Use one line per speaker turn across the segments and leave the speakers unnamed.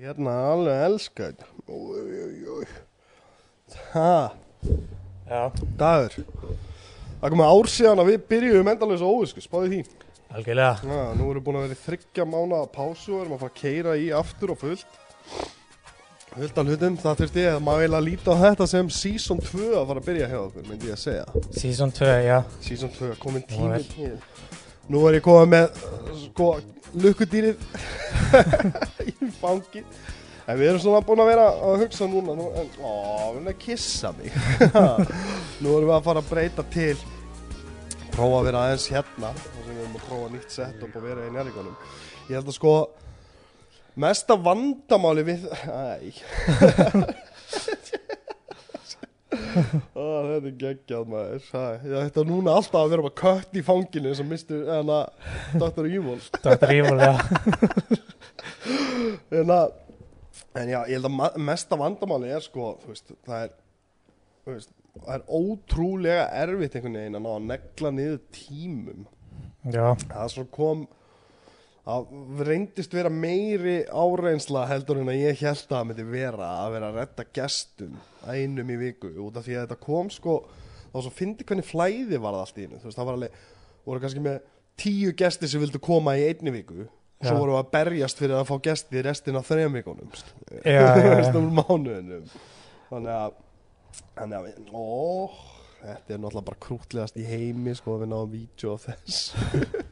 Hérna alveg elska þetta. Oj, oj, oj. Ha,
Já,
dagur. Það komið ár síðan að við byrjuðum endalins óvisku, spáði því.
algjörlega.
Já, nú erum við búin að vera í þryggja mánu að pásu og erum að fara að keira í aftur og fullt. Fullt af hlutum, það þurfti ég að maður eiginlega líta á þetta sem season 2 að fara að byrja hjá okkur, myndi ég að segja.
Season 2, já.
Season 2, komin
Nú
tími
er-
til. Nú er ég komið með, uh, sko, lukkudýrið í fangi. En við erum svona búin að vera að hugsa núna, nú, en, ó, við erum að kissa mig. nú erum við að fara að breyta til, prófa að vera aðeins hérna, þar sem við erum að prófa nýtt setup og vera í nærgónum. Ég held að sko, mesta vandamáli við, æ, Ó, þetta er geggjað maður Það- Ég ætti að núna alltaf að vera með kött í fanginu sem mistu en að Dr. Evil
Dr. Evil, já.
en, að, en já, ég held að ma- mesta vandamáli er sko þú veist, það er þú veist, það er ótrúlega erfitt einhvern veginn að ná að negla niður tímum
Já,
það svo kom það reyndist vera meiri áreinsla heldur en að ég held að það myndi vera að vera að redda gestum einum í viku út af því að þetta kom sko þá svo fyndi hvernig flæði var það allt í einu þú veist það var alveg, voru kannski með tíu gesti sem vildu koma í einni viku svo
Já.
voru að berjast fyrir að fá gesti restin af þrejum vikunum sko.
Já, já, já.
um mánuðinum þannig að, þannig að við, ó, þetta er náttúrulega bara krútlegast í heimi sko að við náum vídeo af þess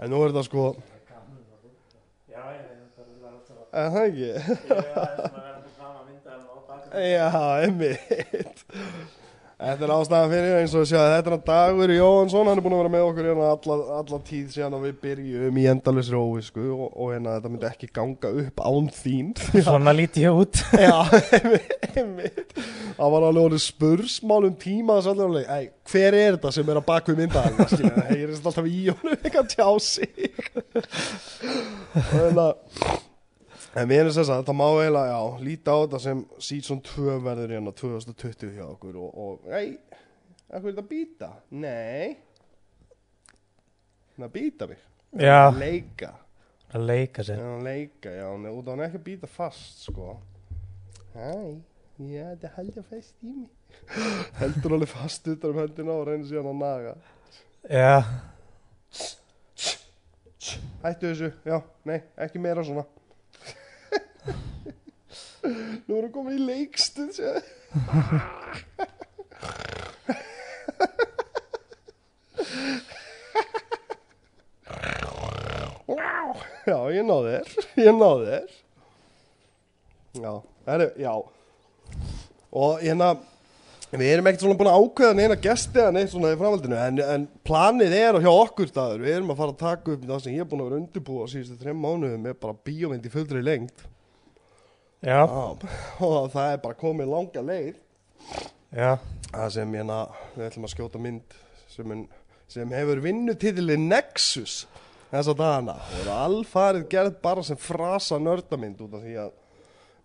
en nú er þetta sko En það ekki? Já, einmitt. Þetta er ástæðan fyrir eins og við sjáum þetta er hann Dagur Jóhansson, hann er búin að vera með okkur hérna alla, alla tíð síðan að við byrjum í endalusri óvisku og, og hérna þetta myndi ekki ganga upp án þín.
svona lítið ég út.
Já, einmitt. Það var alveg orðið spursmál um tíma þess allir alveg, ei, hver er þetta sem er að baku myndaðar? Það heyrist alltaf í honum eitthvað tjá sig. Þannig að, en við erum þess að þetta má eiginlega, já, líta á þetta sem season 2 verður hérna 2020 hjá okkur og, og ei, eitthvað er þetta að býta? Nei. Það býta mig.
Já.
Leika.
Að leika sér.
Já, hún leika, já, hún er út og hún er ekki að býta fast, sko. Æ, já, þetta heldur fast í mig. heldur alveg fast utan um höndina og reynir síðan að naga.
Já,
Hættu þessu, já, nei, ekki meira svona. Nú erum við komin í leikstuð, séu. Já, ég náði þér, ég náði þér. Já, það er, já. Og hérna, við erum ekkert svona búin að ákveða neina gesti eða neitt svona í framhaldinu, en, en planið er og hjá okkur staður, við erum að fara að taka upp það sem ég er búin að vera undirbúið á síðustu þremm mánuðum með bara bíómynd í fullri lengt.
já,
Já, og það er bara komið langa leið.
já.
Það sem hérna, við ætlum að skjóta mynd sem, mun- sem hefur vinnutitilli Nexus þess að dagana og það er alfarið gerð bara sem frasa nördamynd út af því að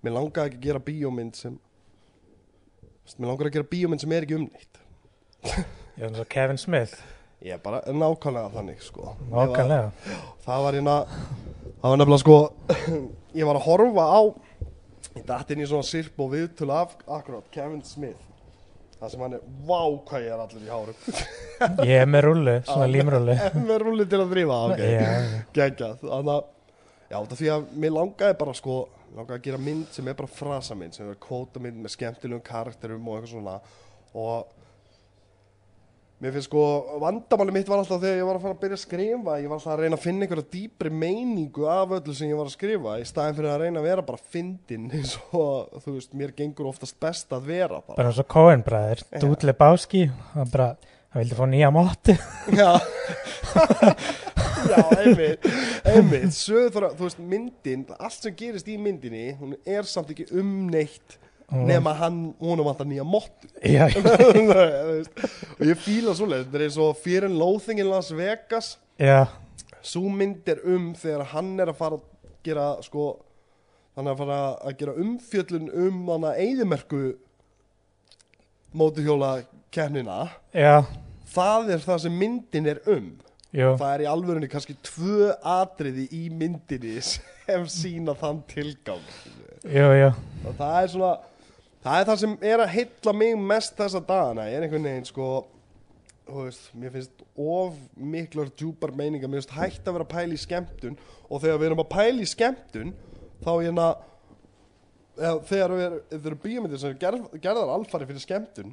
mér langaði ekki að gera bíómynd sem mér langaði að gera bíómynd sem er ekki umnýtt
Ég var eins og Kevin Smith.
ég er bara nákvæmlega þannig sko
Nákvæmlega.
það var hérna það var nefnilega sko ég var að horfa á ég dætt inn í svona sirp og viðtölu af akkurat Kevin Smith það sem hann er vá hvað ég er allir í hárum
Ég er með rullu, svona límrullu.
En með rúli til að drífa, ok
Já.
geggjað, þannig að já, það því að mér langaði bara sko mig langaði að gera mynd sem er bara frasa mynd sem er kvóta mynd með skemmtilegum karakterum og eitthvað svona og mér finnst sko vandamáli mitt var alltaf þegar ég var að fara að byrja að skrifa ég var alltaf að reyna að finna einhverja dýpri meiningu af öllu sem ég var að skrifa í staðin fyrir að reyna að vera bara fyndin eins og þú veist, mér gengur oftast best að vera bara
Bara eins og Coen bræðir. Dúdle Báski. Hann bara, hann vildi fá nýja móttu.
Já Já, einmitt Einmitt, söður, þú veist, myndin Allt sem gerist í myndinni Hún er samt ekki um neitt
Hún-
Nefn að hann, hún vantar nýja mott
Já,
Og ég fíla svoleið Þetta er eins og Fear and Loathing in Las Vegas
já,
Sú mynd er um þegar hann er að fara að gera sko Hann er að fara að gera umfjöllun um hana eyðimerku mótuhjóla kemnina
já.
Það er það sem myndin er um
jú,
það er í alvörunni kannski tvö atriði í myndinni sem sína þann tilgang
jú, jú
og það er svona það er það sem er að heilla mig mest þessa dagana er einhvern veginn sko þú veist, mér finnst of miklar djúpar meiningar, mér finnst hægt að vera að pæla í skemmtun og þegar við erum að pæla í skemmtun þá er hérna eða þegar við erum, við erum bíómyndir sem eru gerð, gerðar alfari fyrir skemmtun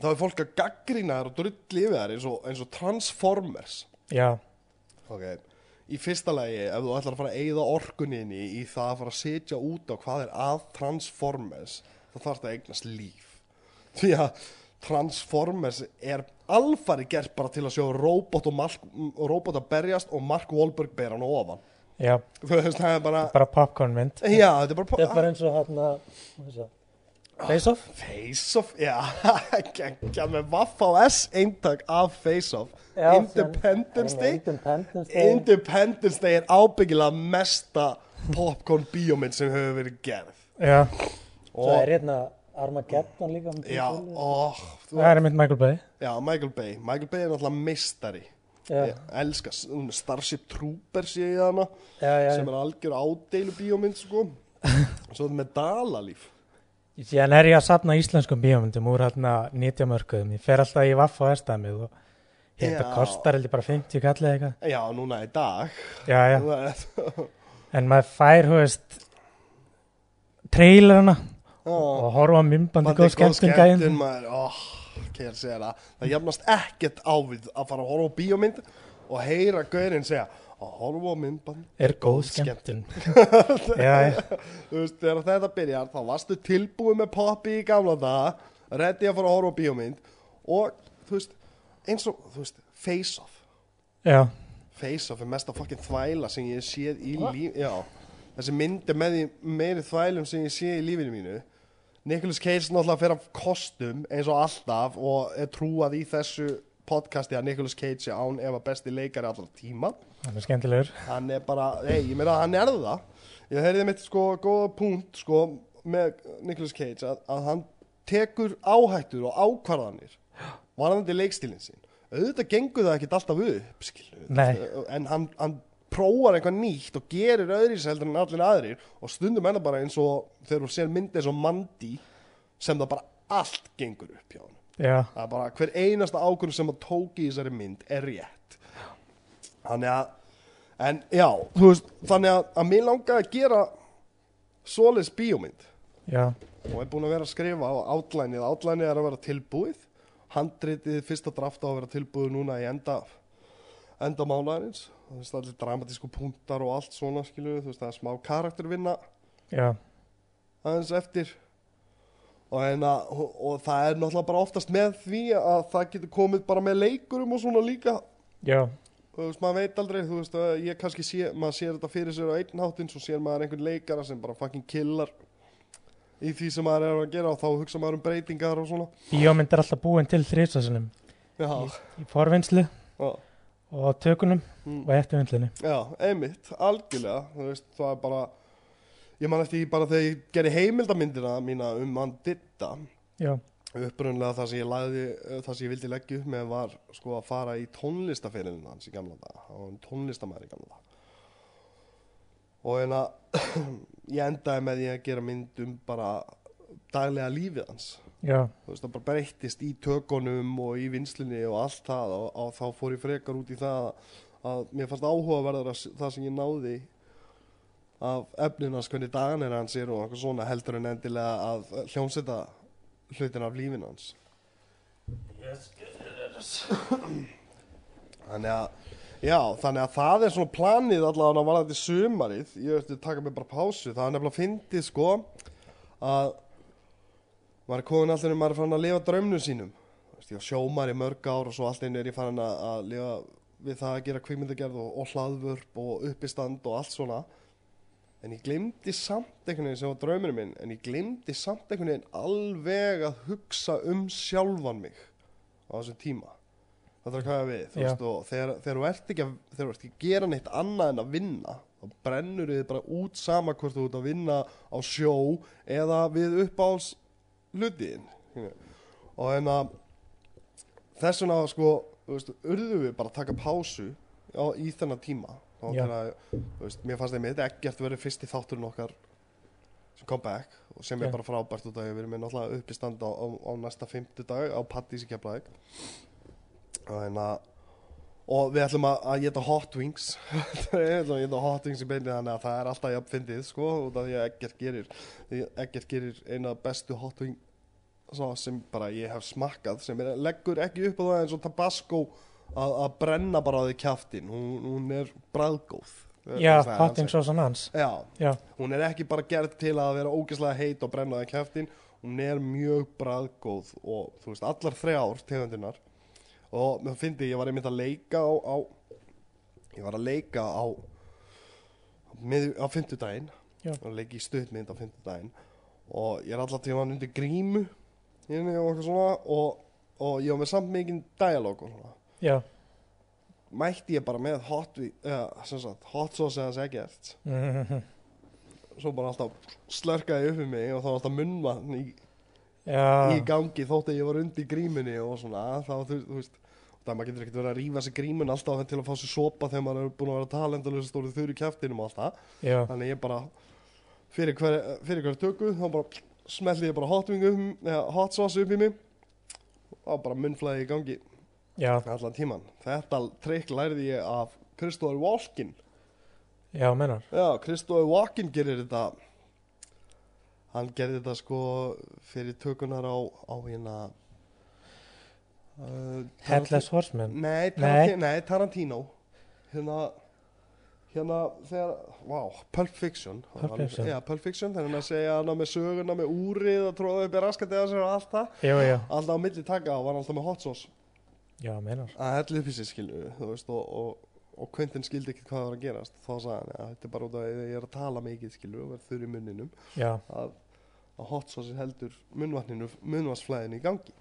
þá er fólk að gaggrýna þær og drulli yfir þær eins og, eins og Transformers
Já,
Ok, í fyrsta lagi ef þú ætlar að fara að eyða orkuninni í það að fara að setja út á hvað er að Transformers þá þarf að eignast líf því að Transformers er alfari gert bara til að sjá robot og Mark, og robot að berjast og Mark Wahlberg ber hann á ofan
já,
þú veist það er bara
bara popcorn mynd
já þetta er bara,
Þetta var eins og hérna Face Off
Face Off, já, geggja með Vaffa og S eintak af Face Off
Já,
Independence
sem-
Day
Independence Day
Independence Day er ábyggilega mesta popcorn bíómynd sem hefur verið gerð
Já,
Svo
og,
er hérna Armageddon líka um
já,
tíu.
og, þú,
það er mynd Michael Bay
já, Michael Bay Michael Bay er náttúrulega mistari
Já,
ég elska s- hún er Starship Troopers ég hana
já, já,
sem er algjör ádeilu bíómynd sko svo þetta með Dalalíf
Síðan er ég að sapna íslenskum bíómyndum úr hérna nýtjamörkuðum, ég fer alltaf í vaff og erstæmið og þetta
Já.
kostar heldur bara 50 kallið eitthvað
Eh, já, núna í dag
Já, já,
já,
en maður fær, hú veist trailerna og horfa á myndbandi góð skemmtun gæðin
maður, oh, kér segja það það jafnast ekkert á við að fara að horfa á bíómynd og heyra gaurinn segja að horfa á myndband
er góð skemmtun Já, já,
þú veist, þegar þetta byrjar þá varstu tilbúið með poppi í gamla daga reddi að fara að horfa á bíómynd og þú veist, eins og þú veist, face off
já,
face off er mesta fucking þvæla sem ég hef séð í líf já, þessi mynd er með því meiri þvælum sem ég sé í lífinu mínu Nicholas Cage náttúrulega fer af kostum eins og alltaf og er trúað í þessu podcasti að Nicholas Cage er án ef að besti leikari allra tíma
hann er skemmtilegur
hann er bara, hei, ég meina að hann er það ég heyrði mitt sko góða punkt sko með Nicolas Cage að, að hann tekur áhættur og ákvarðanir varðandi leikstílinn sinn auðvitað gengur það ekkert alltaf upp skilur,
Nei.
en hann, hann prófar eitthvað nýtt og gerir öðri heldur en allir aðrir og stundum er það bara eins og þegar þú sér myndi eins og Mandy sem það bara allt gengur upp hjá hann
Já,
það er bara hver einasta ákvörðu sem hann tók í þessari mynd er rétt þannig að en já, þú veist, þannig að, að mér langaði að gera svoleiðs bíómynd
já,
og er búin að vera að skrifa á átlænið átlænið er að vera tilbúið handritið fyrsta drafta á að vera tilbúið núna í enda enda mánaðarins þú veist, allir dramatísku punktar og allt svona skilju, þú veist, það er smá karaktervinna
já
aðeins eftir og, hérna, og, og það er náttúrulega bara oftast með því að það getur komið bara með leikurum og svona líka
Já,
þú veist, maður veit aldrei, þú veist, að ég kannski sé, maður sér þetta fyrir sér á einn háttinn svo sér maður einhvern leikara sem bara fucking killar í því sem maður er að gera og þá hugsa maður um breytingar og svona
bíómynd er alltaf búin til þrísasunum
já,
í forvinnslu
já,
og á tökunum
Mm.
og eftirvinnslinni
já einmitt, algjörlega þú veist, það er bara ég man eftir því bara þegar ég gerði heimildamyndina mína um mann ditta
Já,
upprunlega það sem ég lagði það sem ég vildi leggja upp með var sko að fara í tónlistaferilin hans í gamla dag hann var tónlistamæður í gamla dag og en að ég endaði með því að gera mynd um bara daglega lífið hans
já,
þú veist það bara breyttist í tökunum og í vinslunni og allt það og, og þá fór ég frekar út í það að, að mér fannst áhugaverðar að, s- það sem ég náði af efnin hans hvernig daganir hans eru og eitthvað svona heldur en endilega að hljómsetta hlutin af lífin hans Þannig að, já, þannig að það er svona planið allavega að varða þetta sumarið, ég ætti að taka mig bara pásu, það er nefnilega fyndið sko að maður er komin allir um maður er farin að lifa draumnum sínum, Þú veist, ég var sjómar í mörg ár og svo allt einu er ég farin að, að lifa við það að gera kvikmyndagerð og, og hlaðvörp og uppistand og allt svona, en ég glemdi samt einhvern veginn sem var draumurinn minn, en ég glemdi samt einhvern veginn alveg að hugsa um sjálfan mig á þessum tíma. Það er að kæða við, þú
Já.
veist, og þegar, þegar þú ert ekki að, þegar þú ert ekki að gera neitt annað en að vinna, þá brennur þið bara út sama hvort þú ert að vinna á sjó eða við uppáls hlutiðin. Og en að hérna, þess vegna, sko, þú veist, urðum við bara að taka pásu á, í þennan tíma og
Já.
þannig að, þú veist, mér fannst einmitt ekkert verið fyrsti þátturinn okkar sem kom back og sem
Já.
er bara frábært út af því að við erum með náttúrulega uppistand á, á, á næsta fimmtudag á Pattís í hérna, Keflæk þannig að og við ætlum að, að geta hot wings við ætlum að geta hot wings í beinni þannig að það er alltaf jafn fyndið sko út af því að ekkert gerir því að ekkert gerir eina bestu hot wing svo sem bara ég hef smakkað sem er, leggur ekki upp á það eins og Tabasco að, að brenna bara á því kjaftin hún, hún er bræðgóð
já,
Það er
hotting
hans-
sósan hans
Já,
já,
hún er ekki bara gerð til að vera ógeðslega heit og brenna á því kjaftin hún er mjög bræðgóð og þú veist, allar þrjár tegundunar og mér fyndi ég var einmitt að leika á, á ég var að leika á mið, á fimmtudaginn
Já.
og leiki í stuðmynd á fimmtudaginn og ég er alltaf tímann undir grímu hérna og eitthvað svona og, og ég var með samt mikinn dialóg og svona
já
mætti ég bara með hot, vi- eh, sem sagt, hot sauce eða segjert
Mhm.
svo bara alltaf slörkaði upp um mig og þá var alltaf munnvann í, í
já,
gangi þótt að ég var undir grímunni og svona þá þú, þú veist það maður getur ekkert verið að rífa sér grímun alltaf til að fá sér sopa þegar maður er búin að vera talendalösa stórið þurru kjæftinum og allt það
já
þannig ég bara fyrir hver, fyrir hver tökku þá bara smelli ég bara hotvingu um, eða hot sauce upp í mig og bara munnflæði í gangi
já,
allan tíman þetta trikk lærði ég af Kristóður Walkin
já, mennar
Já, Kristóður Walken gerir þetta hann gerir þetta sko fyrir tökunar á, á hérna uh,
Headless Horseman
Nei, Tarantino, nei. Tarantino hérna hérna þegar, wow, Pulp Fiction
Pulp Fiction.
Já, Pulp Fiction, þegar hann er að segja hana með söguna með úrið og tróða upp í raskandi að sér og allt það
já, já,
alltaf á milli taka og var hann alltaf með hot sauce
já, mennar
að hella upp í sig skilju þú veist og, og, og Quentin skildi ekki hvað var að gerast þá sagði hann að þetta er bara út af að ég er að tala mikið skilju og verð þurr í munninum
já,
að, að hot sauce heldur munnvatninu munnvatsflæðinu í gangi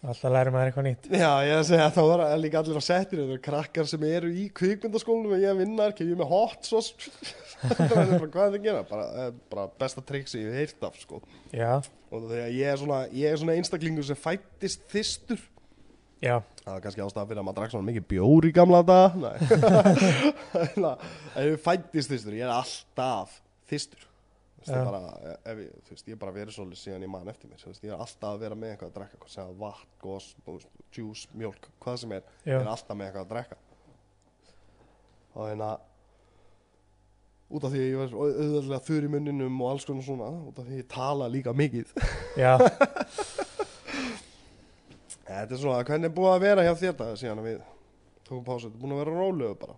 alltaf læri maður eitthvað nýtt
já ég er að segja að þá var líka allir á settinu þau eru krakkar sem eru í kvikmyndaskólanum og ég vinnar kem ég með hot sauce Það er bara, hvað er það að gera bara, eh, bara besta trikk sem ég hef heyrt af sko
já,
og þegar ég er svona ég er svona einstaklingur sem fættist þystur
já,
Það var kannski ástæðan fyrir að maður drakk svona mikið bjór í gamla dag Nei Þannig að ef ég fættist þýstur, ég er alltaf þýstur Þú veist, ég
Já.
bara, ef ég, þú veist, ég er bara verið svolítið síðan ég man eftir mér Þú veist, ég er alltaf að vera með eitthvað að drekka Hvað segja, vatn, gos, þú veist, djús, mjólk, hvað sem er
Já.
Ég er alltaf með eitthvað að drekka Og þannig að Út af því að ég var auðvöldlega þurr í munninum og alls konar svona Út af því að ég tala líka mikið
já
Eh, Þetta er svona, hvernig er búið að vera hjá þér dag síðan að við tókum pásu, þetta er búin að vera rólegu bara.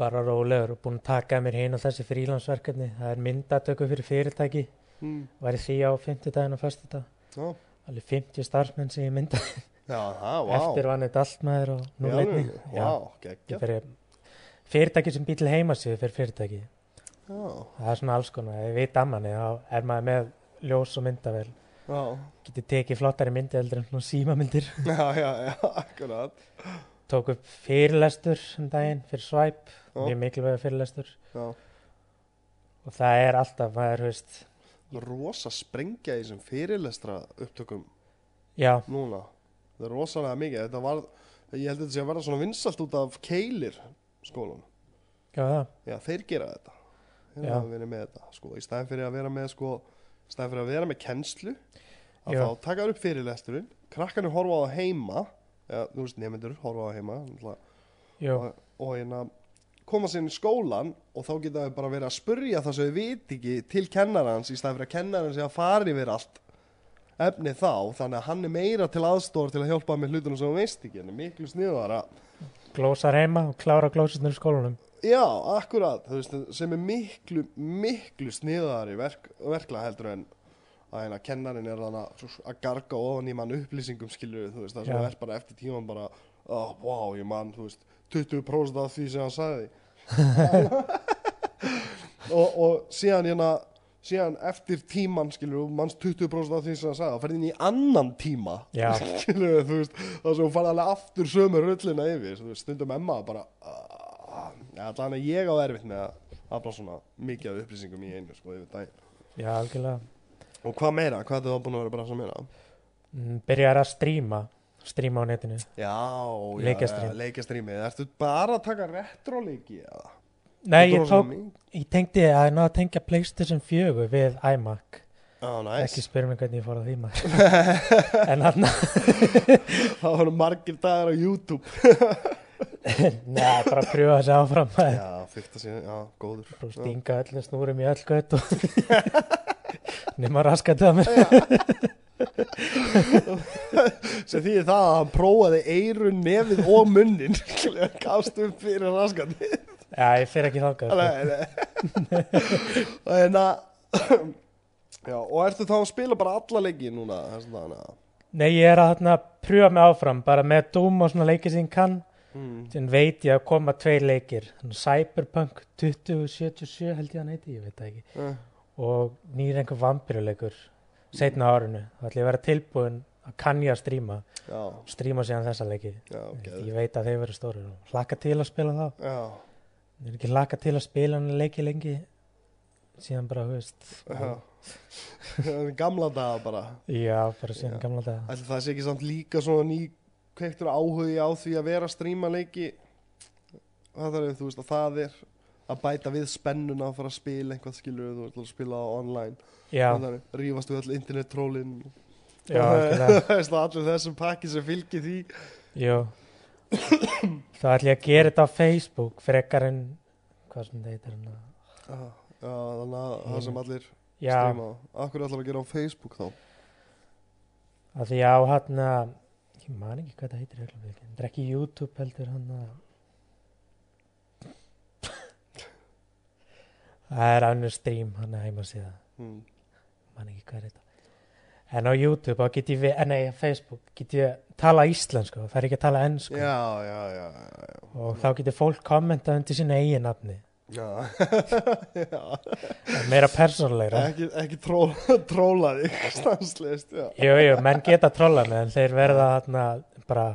bara rólegur og búin að taka að mér hin og þessi frílansverkefni það er myndatöku fyrir fyrirtæki
Mm.
væri því á 50 daginn og 1. dag
Já,
alveg 50 starfsmenn sem ég mynda
já, já, vá.
eftir vann eitt allt maður og nú
Í
leitni
alvöru? Vá,
ég
geggja.
fyrir fyrirtæki sem býr til heimasíðu fyrir fyrirtæki
Já,
það er svona alls konar, ef ég veit að manni þá er maður með ljós og myndavel
já,
getið tekið flottari myndi eldur en svona símamyndir
já, já, já, akkurat.
tók upp fyrirlestur um daginn fyrir svæp,
Já.
mjög mikilvæg fyrirlestur
Já,
og það er alltaf, maður, þú veist
rosa sprengja í þessum fyrirlestra upptökum
já,
núna. Það er rosalega mikið, þetta var, ég held að þetta sé að verða svona vinsalt út af keilir skólanum.
já það
Já, þeir gera þetta. Þeir
Já.
hafa verið með þetta, sko, í stæðin fyrir að vera með, sko, í stæðin fyrir að vera með kennslu, að
Já.
þá taka þér upp fyrirlesturinn, krakkanir horfa á það heima, eða, þú veist, nemyndur horfa á það heima, náttúrulega,
Jú,
og, og hérna, koma sér inn í skólan og þá geta þau bara verið að spurja það sem þau viti ekki til kennarans í stæðin fyrir að kennarans sé að fara yfir allt efni þá, þannig að hann er meira til aðstór til að hjálpa með hlutunum sem þú veist ekki, en er miklu sniðara
glósar heima og klára glósirnur í skólanum
Já, akkurat, þú veist, sem er miklu, miklu sniðari verk, verkla heldur en að hérna kennarin er þannig að, að garga ofan í mann upplýsingum skilur, þú veist, það sem
Já.
er bara eftir tíman bara, oh, wow, ég mann, þú veist, 20% af því sem hann sagði. og, og síðan hérna, síðan eftir tíman skilur, manns 20% af því sem hann sagði, það ferði inn í annan tíma
Já.
skilur, þú veist, þá sem hún fann alveg aftur sömu rullina yfir, þú veist, stundum Emma bara, aaaah, allan að ég á erfitt með að afla svona mikið af upplýsingum í einu, sko, yfir daginn.
já, algjörlega
Og hvað meira, hvað er það búin að vera bara sem meira?
Mm, byrjar að stríma stríma á netinu
Já, já,
Leikjastrím.
já, leikjastrými Ertu bara að taka retroleiki eða?
Nei,
Þú
ég
ert
tók,
orðin svo mink-
ég tengdi að ná að tengja Playstation 4 við iMac
Já,
ekki sko.
næs
spyrir mig hvernig ég fór að því maður en hann,
Það voru margir dagar á YouTube
neða, bara að prjóða þessi áfram maður.
Já, fyrta síðan, já, góður
Bara
Já.
stinga öllum snúrum í öll gött og nema raskat að mér
sem því það að hann prófaði eirun, nefið og munnin gafst upp fyrir raskandi
Já, ég fer ekki þangað sko.
Nei, nei. og hérna já, og ertu þá að spila bara alla leiki núna þess að þannig
Nei, ég er að þarna prjóða mig áfram bara með Doom og svona leiki sem ég kann
mm.
sem veit ég að koma tveir leikir Þannig Cyberpunk 2077 held ég hann heiti, ég veit það ekki
Eh,
og nýr einhver vampiruleikur setna á árinu, þá ætlum ég að vera tilbúin að kann ég að stríma
já,
stríma síðan þessa leiki
já, ok
ég veit að þeir verður stórir og hlakka til að spila þá
já,
ég er ekki hlakka til að spila hann leiki lengi síðan bara, þú veist
já Það er gamla daga bara
já, bara síðan
Já.
gamla daga
Ætli það sé ekki samt líka svona ný kveiktur áhugi á því að vera að stríma leiki það þarf þú veist að það er að bæta við spennuna að fara að spila eitthvað skilur þú ætlar að spila á online
já,
Það er, rífast við öll internet trólin
já, algjörlega
allir þessum pakki sem fylgir því
Jú. þá ætlum ég að gera þetta á Facebook frekar en hvað sem þetta heitir hérna. hann að-
Já, já, þannig að það sem allir
Mm. já,
streyma á. Akkur ætlar að gera á Facebook þá?
að því á hann að ég man ekki hvað það heitir reglumbyrg þetta er ekki YouTube heldur hann að það er annur stream hann að heima síða
Mm.
man ekki hvað er þetta en á YouTube þá get ég við, eh, nei, á Facebook get ég tala íslensku það er ekki að tala ennsku
Já, já, já, já, já.
og þá getur fólk kommentað undir sína eigin nafni
Já, já.
Það er meira persónulegra
ekki, ekki tró, tróla þig stanslist, já.
jú, jú, menn geta trolla með en þeir verða hann að bara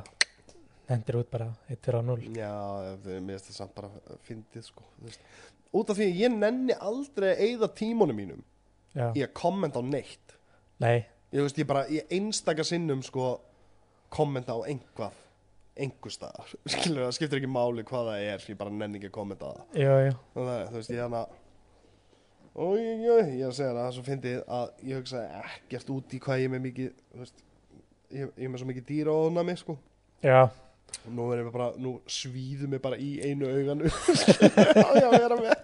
hendur út bara 1 á 0
Já, ef þið- mér finnst það samt bara fyndið, sko. þú veist. Út af því að ég nenni aldrei að eyða tímunum mínum
já,
í að kommenta á neitt.
nei,
Ég veist, ég bara, ég einstaka sinnum, sko, kommenta á einhvað, einhver staðar. Skilur, það skiptir ekki máli hvað það er, ég bara nenni ekki að kommenta á það.
jú, jú
Og það, er, þú veist, ég hana og ég, ég, ég er að segja hana það er svo fyndið að ég hugsaði ekkert út í hvað ég er með mikið þú veist, ég, ég er með svo mikið dýra á mig sko.
Já,
og nú erum við bara, nú svíðum við bara í einu auganu og ég að vera með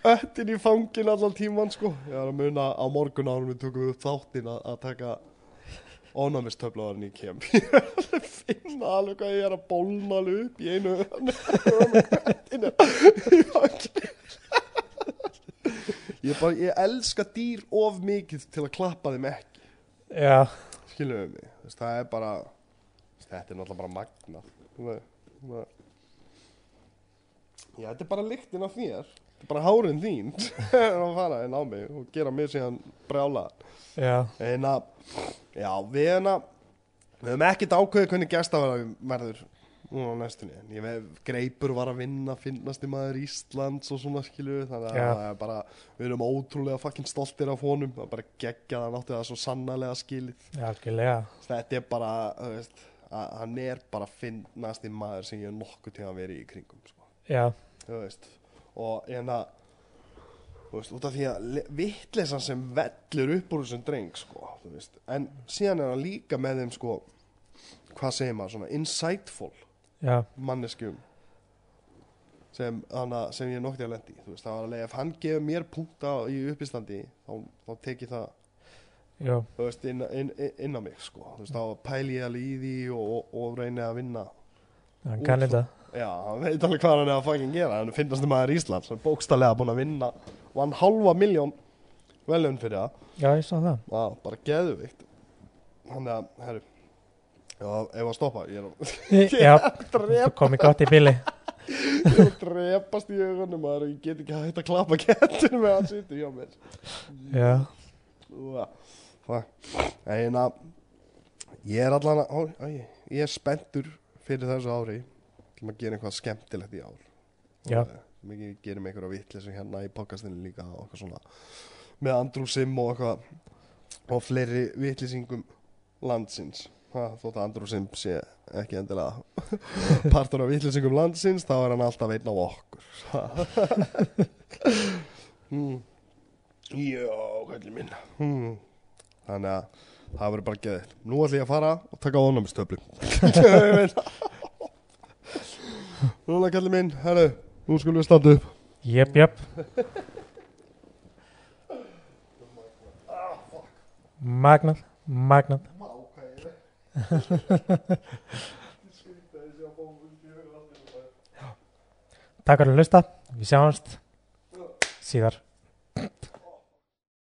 köttin í fangin allan tíman sko. ég var að muna á morgun árum við tökum við upp þáttinn að, að taka ónámistöfla áður en ég kem ég er alveg að finna alveg hvað ég er að bólna alveg upp í einu auganu Ég var með köttinn í fanginu. ég, bara, ég elska dýr of mikið til að klappa þeim ekki
já,
skilum við mig Þú veist, það er bara þetta er náttúrulega bara magna Nei, nei. já, þetta er bara lyktin af þér þetta er bara hárin þín að fara inn á mig og gera mig síðan brjála
já,
en að já, við en að við höfum ekkert ákveðið hvernig gestaverðar verður núna á næstunni en ég vef greipur var að vinna finnast í maður Íslands og svona skilu þannig að
Já.
það er bara við erum ótrúlega fucking stoltir af honum það er bara geggjað hann átti það svo sannarlega skilið
já, algjörlega
þetta er bara þú veist, að, hann er bara finnasti maður sem ég er nokkuð til að vera í kringum sko.
Já,
þú veist og en að þú veist, út af því að vittlesan sem vellur upp úr þessum dreng sko, þú veist, en síðan er hann líka með þeim sko, hvað segir maður svona insightful
já,
manneskjum sem, hana, sem ég er noktið að lendi þú veist, það var alveg ef hann gefur mér punkta í uppistandi þá, þá tekið það
jú,
þú veist, inn, inn, inn, inn á mig sko. þú veist, þá pæli ég alveg í því og, og, og reyni að vinna
hann kann
Út-
þetta
já, hann veit alveg hvað hann er að fucking gera hann finnast um aðeins Ísland sem er bókstallega búin að vinna og hann halva miljón velun fyrir það
Já, ég sá það
Vá, bara geðuvikt þannig að, herru já, ef að stoppa, ég er að,
Já, þú
drep,
komið gott í bili
ég er að drepast í augunum maður, og ég get ekki hægt að klappa kettinu með hann sýttu hjá mér
Já,
Úa, fuck. En að hérna, ég er allan að, ó, æ, ég er spenntur fyrir þessu ári til að gera eitthvað skemmtilegt í ár.
Já.
Og, eh, Mikið gerum einhverja vitleysu hérna í podcastinu líka og eitthvað svona með Andrew Sim og eitthvað og fleiri vitlýsingum landsins. Ha, þótt að Andrew Simp sé ekki endilega partur af vitlisingum landsins þá er hann alltaf einn á okkur mm. já, kallið minn mm. þannig að það verður bara geðið nú ætlum ég að fara og taka ónumistöflum núna kallið minn herru, nú skulum við standa upp
Jöp, jöp Magnað, magnað Takk fyrir að hlusta Við sjáumst síðar